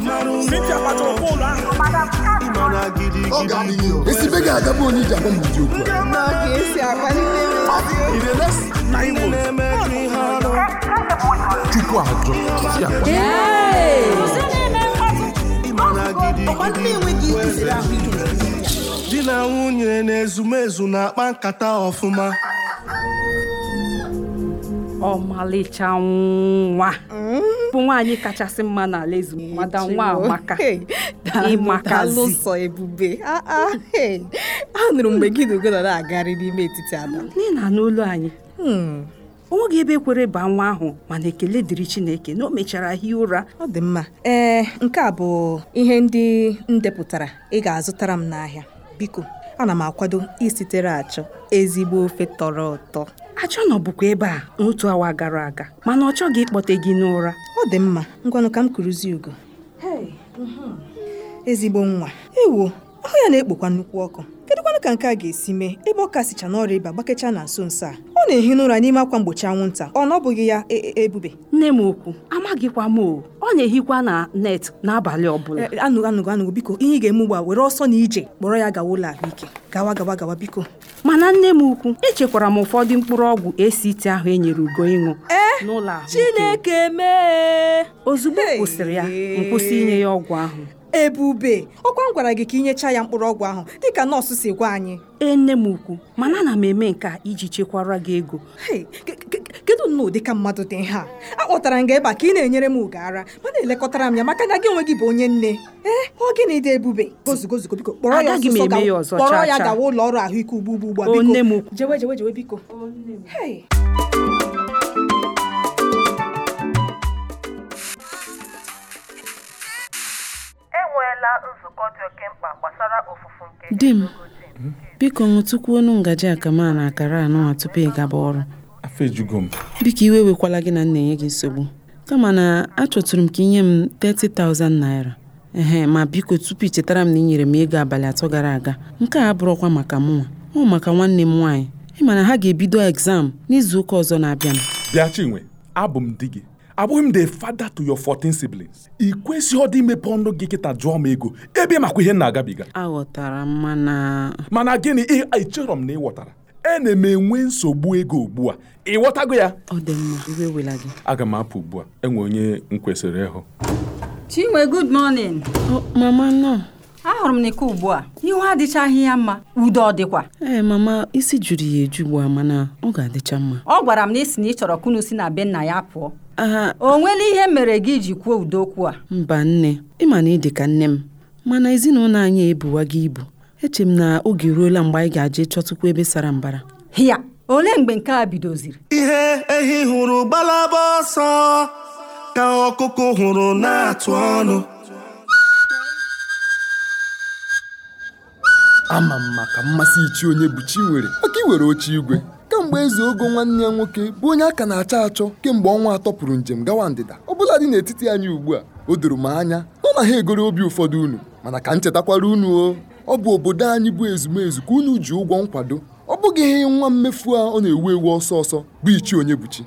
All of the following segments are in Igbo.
Cynthia Patrofolu ahụ. esibe ga-agabụ onye iji agwa m ụdị okwu a? na Imo. chukwu ajọ isi agwa di na nwunye na-ezumezu na-akpa nkata ọfụma ọmalịcha nwa bụ nwaanyị kachasị mma n'ala ezu mada um nwa amaka ịmakazi ịmakalụsọ ebube Ah, ah, hey. anụrụ mgbe gị na ugo nọ na-agarị n'ime etiti ada nne na n'olu anyị oge ebe kwere baa nwa ahụ mana ekele dịrị chineke na o mechara hie ụra ọ dị mma ee nke a bụ ihe ndị m depụtara ị ga-azụtara m n'ahịa biko ana m akwado isitere achọ ezigbo ofe tọrọ ụtọ achọ nọ bụkwa ebe a n'otu awa gara aga mana ọ chọghị ịkpọte gị n'ụra ọ dị mma ngwanụ ka m kuruzie ugo Mhm. ezigbo nwa ewo ahụ ya na-ekpokwa nnukwu ọkụ kedụkwanụ ka nke a ga-esi mee ebe ọ kasịcha n'ọrịa ịba gbakechaa na nso nso a ọ na-ehi n'ụra n'ime akwa mgbochi anwụnta ọ na ọ bụghị ya e- e- ebube nne m okwu amaghịkwa m o ọ na-ehikwa na net n'abalị ọbụla Eh, anụgo anụgo anụgo biko ihe ị ga-eme ugbu a were ọsọ na ije kpọrọ ya gawa ụlọ ahụike gawa gawa gawa biko mana nne m ukwu echekwara m ụfọdụ mkpụrụ ọgwụ ACT ahụ e nyere ugo ịṅụ n'ụlọ ahụ E, chineke mee ozugbo m kwụsịrị ya m kwụsị inye ya ọgwụ ahụ ebube ọkwa m gwara gị ka inyecha ya mkpụrụ ọgwụ ahụ dịka nọọsụ si gwa anyị ee nne m ukwu mana ana m eme nke a iji chekwara gị ego Hey, ke- ke- ke- kedu nnọọ ụdị ka mmadụ dị ha a kpọtara m gị ebe a ka ị na-enyere m ugo ara ma na-elekọtara m ya maka na gị onwe gị bụ onye nne ee ọ gịnị dị ebube gozugo gozugo biko kpọrọ ya Agaghị m ọsịsọ eme gawa- ya ọzọ, kpọrọ ya chaa, chaa. gawa ụlọ ọrụ ahụike ugbu ugbu ugbu a O, biko nne m ukwu. jewe jewe jewe biko Hey. enweela nzukọ dị oke mkpa gbasara ofufu nke di m biko ṅụtụkwuonu ngaji akama na akara anụnwa tupu ị gaba ọrụ afọ ejugo m biko iwe ewekwala gị na nnenye gị nsogbu kama na achọtụrụ m ka inye m 30,000 naira ehe ma biko tupu ichetara m na i nyere m ego abalị atọ gara aga nke a abụrọkwa maka mụnwa ọ maka nwanne m nwaanyị ịma na ha ga-ebido egzam n'izu ụka ọzọ na-abịanụ bịa chinwe abụ m di gị abụghị m the father to your 14 siblings ị kwesịghị ọdị imepe ọnụ gị kịta jụọ m ego ebe ị makwa ihe m na-agabiga aghọtara m mana mana gịnị ị- ị chọrọ m na ịghọtara ena m enwe nsogbu ego ugbu a ịghọtago ya ọ dị mma iwe wela gị aga m apụ ugbu a enwe onye m kwesịrị ịhụ chinwe good morning Ọ, mama nọ ahụrụ m n'ike ugbu a ihu adịchaghị ya mma udo ọ dịkwa ee mama isi juru ya eju ugbu a mana ọ ga-adịcha mma ọ gwara m na isi na ị chọrọ kunu si na be nna ya pụọ aha o nwela ihe mere gị ji kwuo udo okwu a mba nne ịma na ị dị ka nne m mana ezinụlọ anyị ebuwago ibu eche m na oge ruola mgbe anyị ga-aje chọtụkwa ebe sara mbara hịa olee mgbe nke a bidoziri ihe ehi hụrụ gbalaba ọsọ ka ọkụkụ hụrụ na-atụ ọnụ ama m maka mmasị ichi onye bụ chi nwere maka iwere oche igwe kemgbe eze ogo nwanne ya nwoke bụ onye aka na-achọ achọ kemgbe ọnwa atọ pụrụ njem gawa ndịda ọbụladị n'etiti anyị ugbu a o doro m anya nọ na ha egoro obi ụfọdụ unu mana ka m chetakwara unu o ọ bụ obodo anyị bụ ezumezu ka unu ji ụgwọ nkwado ọ bụghị ihe nwa mmefu a ọ na-ewu ewu ọsọ ọsọ bụ ichi onye bụ chi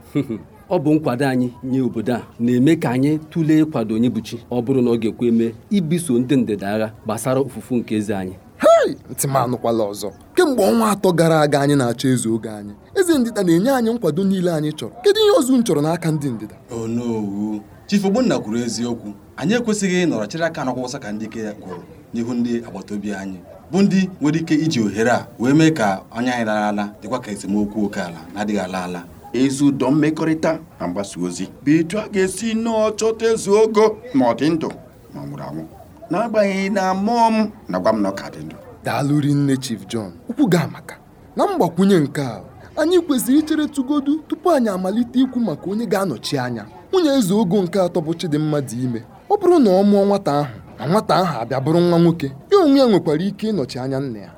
ọ bụ nkwado anyị nye obodo a na-eme ka anyị tụlee kwado onye buchi ọ bụrụ na ọ ga-ekwe mee ibiso ndị ndịda agha gbasara ofufu nke eze anyị hei ntị m anụkwala ọzọ kemgbe ọnwa atọ gara aga anyị na-achọ eze oge anyị eze ndịda na-enye anyị nkwado niile anyị chọrọ kedu ihe ọzọ m chọrọ n'aka ndị ndịda onowu chief ogbonna kwuru eziokwu anyị ekwesịghị ịnọrọ chịrị aka n'akwụkwọsa ka ndị ike ya gwụrụ n'ihu ndị agbata obi anyị bụ ndị nwere ike iji ohere a wee mee ka ọnya anyị lara ala dịkwa ka esemokwu oke ala na-adịghị ala ala ezi ụdọ mmekọrịta na mgbasa ozi bụ etu a ga-esi nnọọ chọta ezu ogo ma ọ dị ndụ ma ọ nwụrụ anwụ n'agbanyeghị na mmụọ m na-agwa m na ọ ka dị ndụ daalụ ri nne chief john ukwu ga amaka na mgbakwunye nke a anyị kwesịrị ichere tụgodu tupu anyị amalite ikwu maka onye ga-anọchi anya nwunye eze ogo nke atọ bụ chidimma dị ime ọ bụrụ na ọ mụọ nwata ahụ na nwata ahụ abịa bụrụ nwa nwoke ya onwe ya nwekwara ike ịnọchi anya nna ya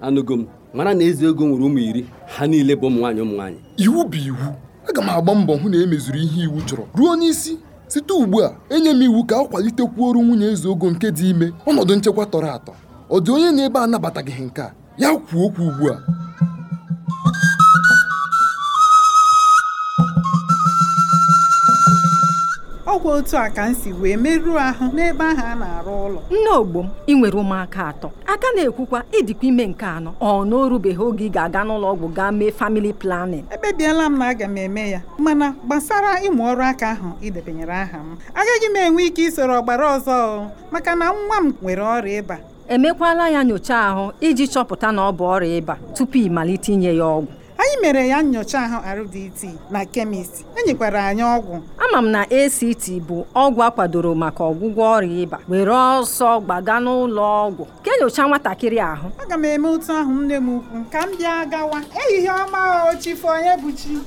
anụgo m mara na eze ego nwere ụmụ iri ha niile bụ ụmụ nwaanyị ụmụ nwaanyị iwu bụ iwu aga m agba mbọ hụ na emezuru ihe iwu chọrọ ruo n'isi site ugbu a enye m iwu ka a kwalitekwuoro nwunye eze ogo nke dị ime ọnọdụ nchekwa tọrọ atọ ọ dị onye n'ebe anabataghị nke a ya kwuo okwu ugbu a ọ ọkwa otu a ka m si wee merụọ ahụ n'ebe ahụ a na-arụ ụlọ nne ogbo m ị nwere ụmụaka atọ aka na-ekwukwa ịdịkwa ime nke anọ ọ na orubeghị oge ị ga-aga n'ụlọ ọgwụ gaa mee family planning ekpebiela m na aga m eme ya mana gbasara ịmụ ọrụ aka ahụ idebenyere aha m agaghị m enwe ike isoro ọgbara ọzọ o, maka na nwa m nwere ọrịa ịba emekwala ya nyocha ahụ iji chọpụta na ọ bụ ọrịa ịba tupu ị malite inye ya ọgwụ anyị mere ya nyocha ahụ RDT na kemist enyekwara anyị ọgwụ ama m na ACT bụ ọgwụ akwadoro maka ọgwụgwọ ọrịa ịba were ọsọ gbaga n'ụlọ ọgwụ ka enyocha nwatakịrị ahụ aga m eme otu ahụ nne m ukwu ka m bịa gawa ehihie ọma o chifo onye buchi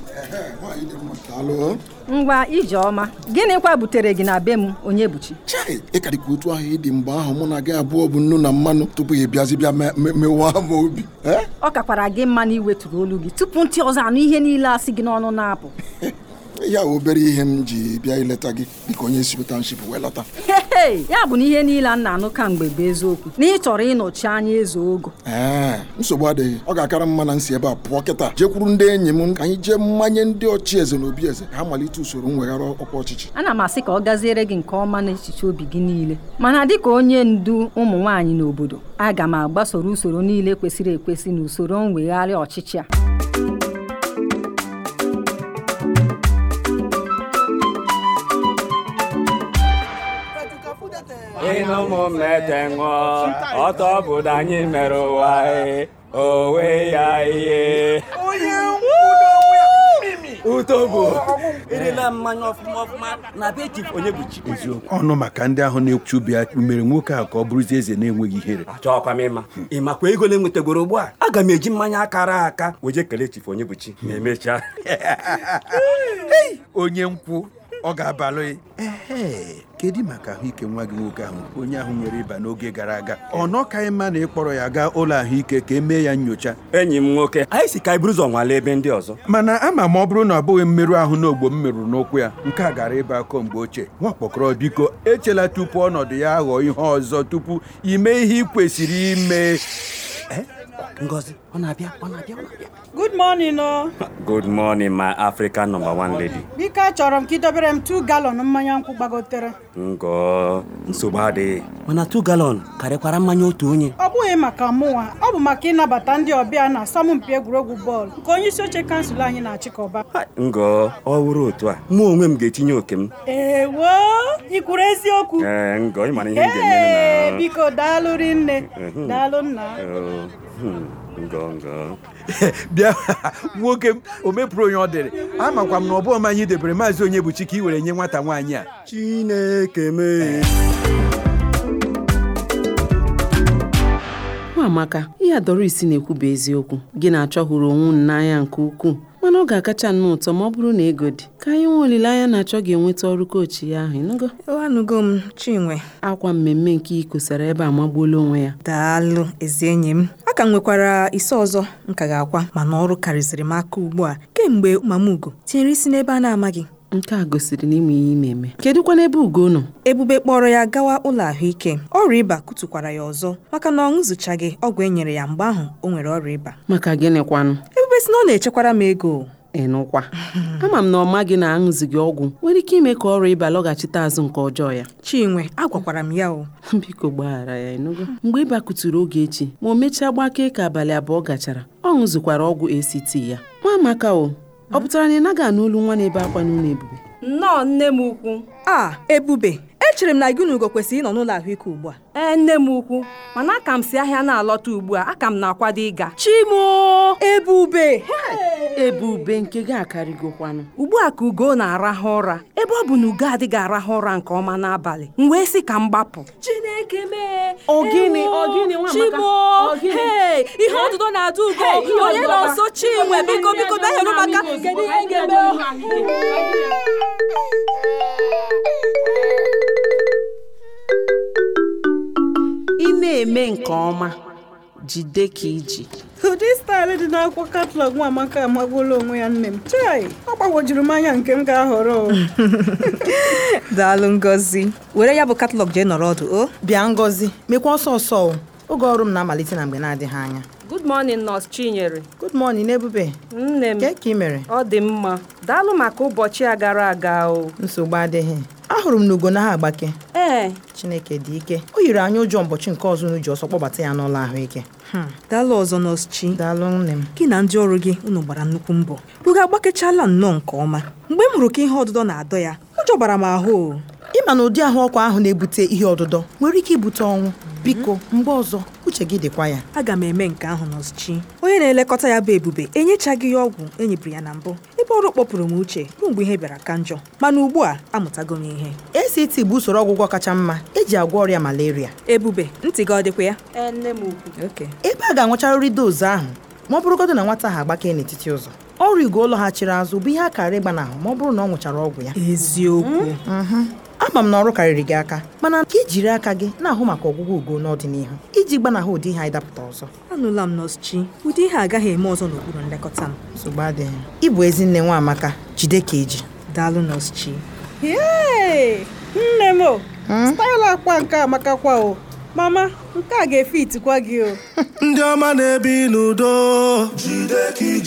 Alụ ngwa ijeọma gịnịkwa butere gị na be m onye buchi chai ịkarịkwa otu ahụ ịdị mgbe ahụ mụ na gị abụọ bụ nnu na mmanụ tupu ị bịazi bịa me- me- mewa m obi Eh? ọ kakwara gị mma na iweturu olu gị tupu ntị ọzọ anụ ihe niile asị gị n'ọnụ na-apụ ya obere ihe m ji bịa ileta gị dịka onye si township wee lọta Hei, ya bụ na ihe niile a na-anụ ka mgbe bụ eziokwu na ị chọrọ ịnọchi anya eze ogo ee nsogbu adịghị ọ ga-akara mma na nsi ebe a pụọ kịta jekwuru ndị enyi m ka anyị jee mmanye ndị ọchịeze na obi eze ka ha malite usoro mweghara ọkwa ọchịchị ana m asị ka ọ gaziere gị nke ọma n'echiche obi gị niile mana dịka onye ndu ụmụ nwaanyị n'obodo aga m agbasoro usoro niile kwesịrị ekwesị na usoro mwegharị ọchịchị a ịnụ ụmụ m na-ete ṅụọ ọtọ obodo anyị mere ụwa e owe ya ihe utobo Erela mmanya ọfụma ọfụma na be chief onye bụ chief. ọnụ maka ndị ahụ na-ekwu ubi ya mere nwoke a ka ọ bụrụzie eze na-enweghị ihere achọkwa m ịma ị makwa ego na-enwetegoro ugbu a aga m eji mmanya akara aka wee jee kelee chief onye bụ chi ma emechaa onye nkwụ ọ ga-abalụ ehe kedu maka ahụike nwa gị nwoke ahụ onye ahụ nwere ịba n'oge gara aga ọ nọkaghị mma na ịkpọrọ ya gaa ụlọ ahụike ka emee ya nyocha enyi m nwoke anyị si ka iburu ụzọ nwalee ebe ndị ọzọ mana ama m ọ bụrụ na ọ bụghị mmerụ ahụ n'ogbo m merụrụ n'ụkwụ ya nke a gara ịba akọ mgbe ochie nwa kpọkọrọ biko echela tupu ọnọdụ ya aghọọ ihe ọzọ tupu ime ihe ị kwesịrị ime ngozi ọ na-abịa ọ na-abịa ọ na-abịa Good morning oh. o good morning my african number one lady biko achọrọ m ka idobere m 2 galọn mmanya nkwụ gbagotere ngọ nsogbu adịghị mana 2 galọn karịkwara mmanya otu onye ọ bụghị maka mụnwa ọ bụ maka ịnabata ndị ọbịa na asọmpi egwuregwu bọọlụ nke onye isi oche kansụl anyị na-achịkọba ngọ ọ wụrụ otu a mụ onwe m ga-etinye oke m ewo ị kwuru eziokwu ee ngọ ịmara ihe m ee ga-eme biko daalụ rinne Mhm. daalụ nna hmm, ngọ ngọ bịa nwoke m o mepụrụ onye ọ dịrị amakwa m na ọ bụghị m anyị debere maazị onye bụ chi ka i were nye nwata nwaanyị a chineke mee nwaamaka ihe adọrọ isi na-ekwu bụ eziokwu gị na-achọ hụrụ onwe unu n'anya nke ukwuu mana ọ ga-akacha nnọọ ụtọ ma ọ bụrụ na ego dị ka anyị nwe olileanya na-achọ ga-enweta ọrụ kochi ya ahụ ịnụgo anụgo m chinwe akwa mmemme nke ikosara ebe a magbuola onwe ya daalụ ezi enyi m a ka m nwekwara ise ọzọ m ka ga-akwa mana ọrụ karịsịrị m aka ugbu a kemgbe mama ugo tinyere isi n'ebe a na-amaghị nke a gosiri n'ime ihe ị na-eme kedụkwa n'ebe ugo nọ ebube kpọrọ ya gawa ụlọ ahụike ọrịa ịba kụtụkwara ya ọzọ maka na ọ ṅụzụchaghị ọgwụ e nyere ya mgbe ahụ o nwere ọrịa ịba maka gịnịkwanụ ebube sị na ọ na-echekwara m ego ịnụkwa ama m na ọma gị na-aṅụzighị ọgwụ nwere ike ime ka ọrụ ịba lọghachite azụ nke ọjọọ ya chinwe agwakwara m ya o biko gbaghara ya ịnụgo mgbe ịba kụtụrụ oge echi ma o mechaa gbakee ka abalị abụọ gachara ọ ṅụzụkwara ọgwụ ACT ya nwa amaka o ọ pụtara na ị naghị anụ olu nwa na-ebe akwa n'ụlọ ebube nnọọ nne m ukwu a ebube echere m na gị na ugo kwesịrị ịnọ n'ụlọ ahụike ugbu a ee E, nne m ukwu mana aka m si ahịa na-alọta ugbu a aka m na-akwado ịga chimo ebube ebube nke gị akarịgokwanụ ugbu a ka ugo na-arahụ ụra ebe ọ bụ na ugo adịghị arahụ ụra nke ọma n'abalị m wee sị ka m gbapụ Chineke mee Ọ gịnị, ewo, ọ gịnị, nwa amaka? Chibo Ọ gịnị? hei ihe ọdụdọ na-atụ ugo Hei, ihe onye ọdụdọ nọ na- nso chinwe biko biko bịa nyere maka kedu ihe ga-eme ị na-eme nke ọma jide ka iji ụdị staịlụ dị n'akwụkwọ katalọg nwa amaka amagbuola onwe ya nne m chai ọ gbagwojuru m anya nke m ga-ahọrọ o. daalụ ngozi were ya bụ katalọg jee nọrọ ọdụ o bịa ngozi mekwa ọsọ ọsọ o oge ọrụ m na-amalite na mgbe na-adịghị anya good morning nọọsụ chinyere good morning ebube Mm. nne m ka ka ị mere ọ dị mma daalụ maka ụbọchị a gara aga o nsogbu adịghị ahụrụ m na ugo na ha agbake ee chineke dị ike o yiri anya ụjọ mbọchị nke ọzọ n'uji ọsọ kpọbata ya n'ụlọ ahụike Hmm. daalụ ọzọ nọọsụ chi daalụ nne m gị na ndị ọrụ gị unu gbara nnukwu mbọ buga agbakechala nnọọ nke ọma mgbe m hụrụ ka ihe ọdụdọ na-adọ ya ụjọ gbara m ahụ o ịma na ụdị ahụ ọkụ ahụ na-ebute ihe ọdụdọ nwere ike ibute ọnwụ biko mgbe ọzọ uche gị dịkwa ya Mhm. aga m eme nke ahụ nọọsụ chi onye na-elekọta ya bụ ebube enyechaghị ya ọgwụ e nyebiri ya na mbụ ebe ọrụ kpọpụrụ m uche ruo mgbe ihe bịara ka njọ mana ugbu a amụtago m ihe ACT bụ usoro ọgwụgwọ kacha mma eji agwọ ọrịa malaria ebube ntị gị ọ dịkwa ya ee E, nne m ukwu ebe a ga-anwụcharịrị dozu ahụ ma ọ bụrụgodị na nwata ahụ agbakee n'etiti ụzọ ọrịa ugo ụlọ ha chiri azụ bụ ihe a kara ịgba n'ahụ ma ọ bụrụ na ọ ṅụchara ọgwụ ya eziokwu Mhm. ama m na ọrụ karịrị gị aka mana ka ijiri aka gị na-ahụ maka ọgwụgwọ ugo n'ọdịnihu iji gbanahụ ụdị ihe anyị dapụta ọzọ anụla m nọọsụ chi ụdị ihe agaghị eme ọzọ n'okpuru nlekọta m nsogbu adịghị ị bụ ezi nne nwa amaka jide ka eji daalụ nọọsụ chi Yee! nne m o Hmm? style akwa nke amakakwa o mama nke a ga-efitikwa gị o ndị ọma na-ebi n'udo oo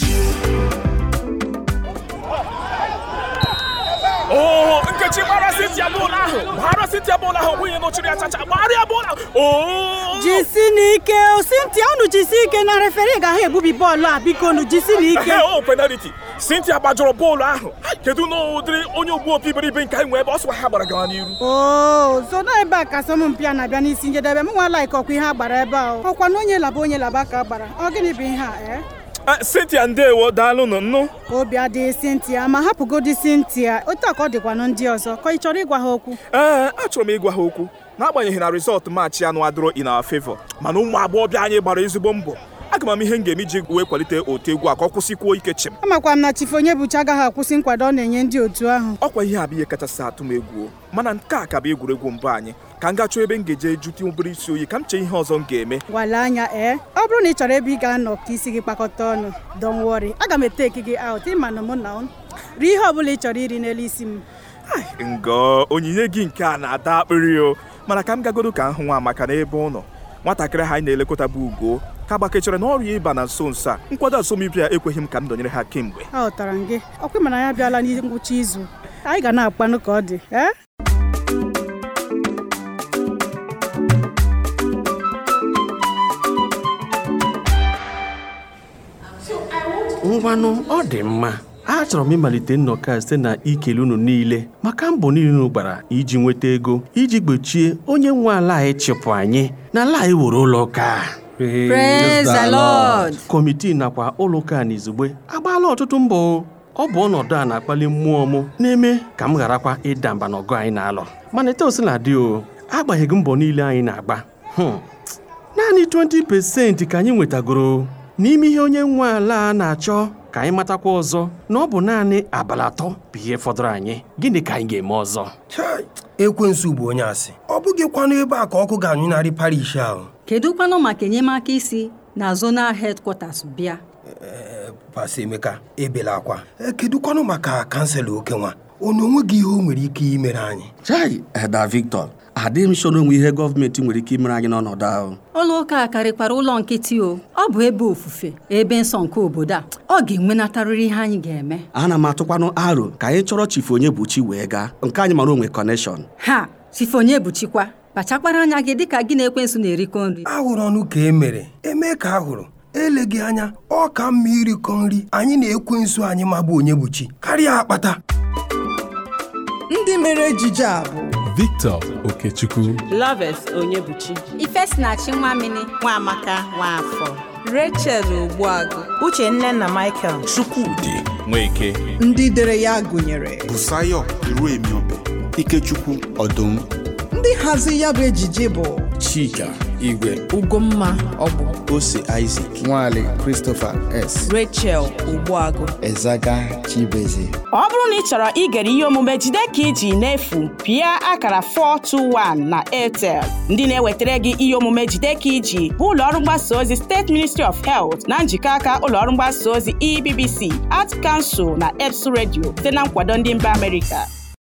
Oh, nkechi gbara sitia bụụlụ ahụ gbara sitia bụụlụ ahụ nwunye nọchiri achacha gbara ya bụụlụ ahụ Oh, oo jisi n'ike o Cynthia unu jisi ike na referi ga-ahụ ebubi bọọlụ a biko unu jisi n'ike o penaliti oh, Cynthia gbajọrọ bọọlụ ahụ kedu na ụdịrị onye ogbu opi iberibe nke anyị nwee ebe ọ sịkwa ha gbara gawa n'iru oo zodo Oh, ebe a ka asọmpi a na-abịa n'isi njedebe m nwa laik ọkwa ihe a gbara ebe a o. ọkwa na onye laba onye laba ka a gbara ọ gịnị bụ ihe a ee Eh, Cynthia ndewo daalụ nụ nnụ obi adịghị Cynthia ma hapụgodi Cynthia otu a ka ọ dịkwanụ ndị ọzọ ka ị chọrọ ịgwa ha okwu ee achọrọ m ịgwa ha okwu n'agbanyeghị na rịzọọtụ maachị anụ adịrọ in our favor mana ụmụ agbọghọbịa anyị gbara ezigbo mbọ aga m ihe m ga-eme iji wee kwalite otu egwu a ka ọ kwụsịkwuo ike chim amakwa m na chifu onye bụchi agaghị akwụsị nkwado ọ na-enye ndị otu ahụ ọkwa ihe a bụ ihe kachasị atụ m egwu o. mana nke a ka bụ egwuregwu mbụ anyị ka m gaa chọọ ebe m ga-eje jute obere isi oyi ka m chee ihe ọzọ m ga-eme gwala anya ee eh? ọ bụrụ na ị chọrọ ebe ị ga-anọ ka isi gị kpakọta ọnụ don wori aga m eteki gị aut ịmana mụ na ụnụ rie ihe ọbụla ị chọrọ iri n'elu isi m ngọ onyinye gị nke a na-ada akpịrị o mana ka m gagodo ka m hụ nwa maka n'ebe ọ nọ nwatakịrị ha anyị na-elekọta bụ ugo ka gbakechara na ọrịa ịba na nso nso a nkwado asọmpi a ekweghị m ka m dọnyere ha kemgbe aghọtara m gị ọkwa ịma na ya abịala ngwụcha izu anyị ga na-akpanụ ka ọ dị eh? ee ngwanụ ọ dị mma achọrọ m ịmalite nnọkọ a site na ikele unu niile maka mbọ niile unu gbara iji nweta ego iji gbochie onye nwe ala anyị chịpụ anyị na ala anyị were ụlọ ụka a. Praise the Lord. kọmitii nakwa ụlọ ụka a n'izugbe agbaala ọtụtụ mbọ o. ọ bụ ọnọdụ a na-akpali mmụọ m na-eme ka m gharakwa ịda mba n'ọgụ anyị na-alụ mana etosinadị o agbanyeghị mbọ niile anyị na-agba hmm, naanị 20% ka anyị nwetagoro n'ime ihe onye nwe ala a na-achọ ka anyị matakwa ọzọ na ọ bụ naanị abalị atọ bụ ihe fọdụrụ anyị gịnị ka anyị ga-eme ọzọ ekwensu bụ onye asị ọ bụghịkwanụ ebe a ka ọkụ ga-anyụnarị parish ahụ kedu kwanụ maka enyemaka isi na zonal headquarters bịa pasa emeka ebela akwa E, kedụkwanụ maka kansụl okenwa onye onweghị ihe o nwere ike imere anyị chai eda victor adịghị m sọ na onwe ihe gọọmenti nwere ike imere anyị n'ọnọdụ ahụ ụlọ ụka a karịkwara ụlọ nkịtị o ọ bụ ebe ofufe ebe nsọ nke obodo a ọ ga-enwenatarịrị ihe anyị ga-eme ana m atụkwanụ aro ka anyị chọrọ chifu onye buchi wee gaa nke anyị mara onwe kọneshọn ha sifonye buchikwa kpachakwara anya gị dịka gị na ekwensu na-erikọ nri ahụrụ ọnụ ka e mere eme ka ahụrụ eleghị anya ọ ka mma irikọ nri anyị na-ekwe nso anyị ma bụ onye buchi karịa akpata ndị mere ejije a bụ Victor Okechukwu Loves Onyebuchi Ifesinachi Nwamini Nwamaka Nwafọ Rachel Ogbuagụ Uchenna na Michael Chukwudị Nweke ndị dere ya gụnyere Busayo Iruemiobe Ikechukwu Ọdụm ndị hazi ya bụ ejije bụ Chika Igwe Ugomma Ọgbụ Ose Isaac Nwale Christopher S. Rachel Ogbuagụ Ezaga Chibeze ọ bụrụ na ị chọrọ igere ihe omume jide ka iji n'efu pịa akara 421 na Airtel ndị na-ewetara gị ihe omume jide ka iji bụ ụlọọrụ mgbasa ozi steeti ministry of health na njikọ aka ụlọọrụ E mgbasa ozi ebbc art kansụl na eps redio site na nkwado ndị mba amerịka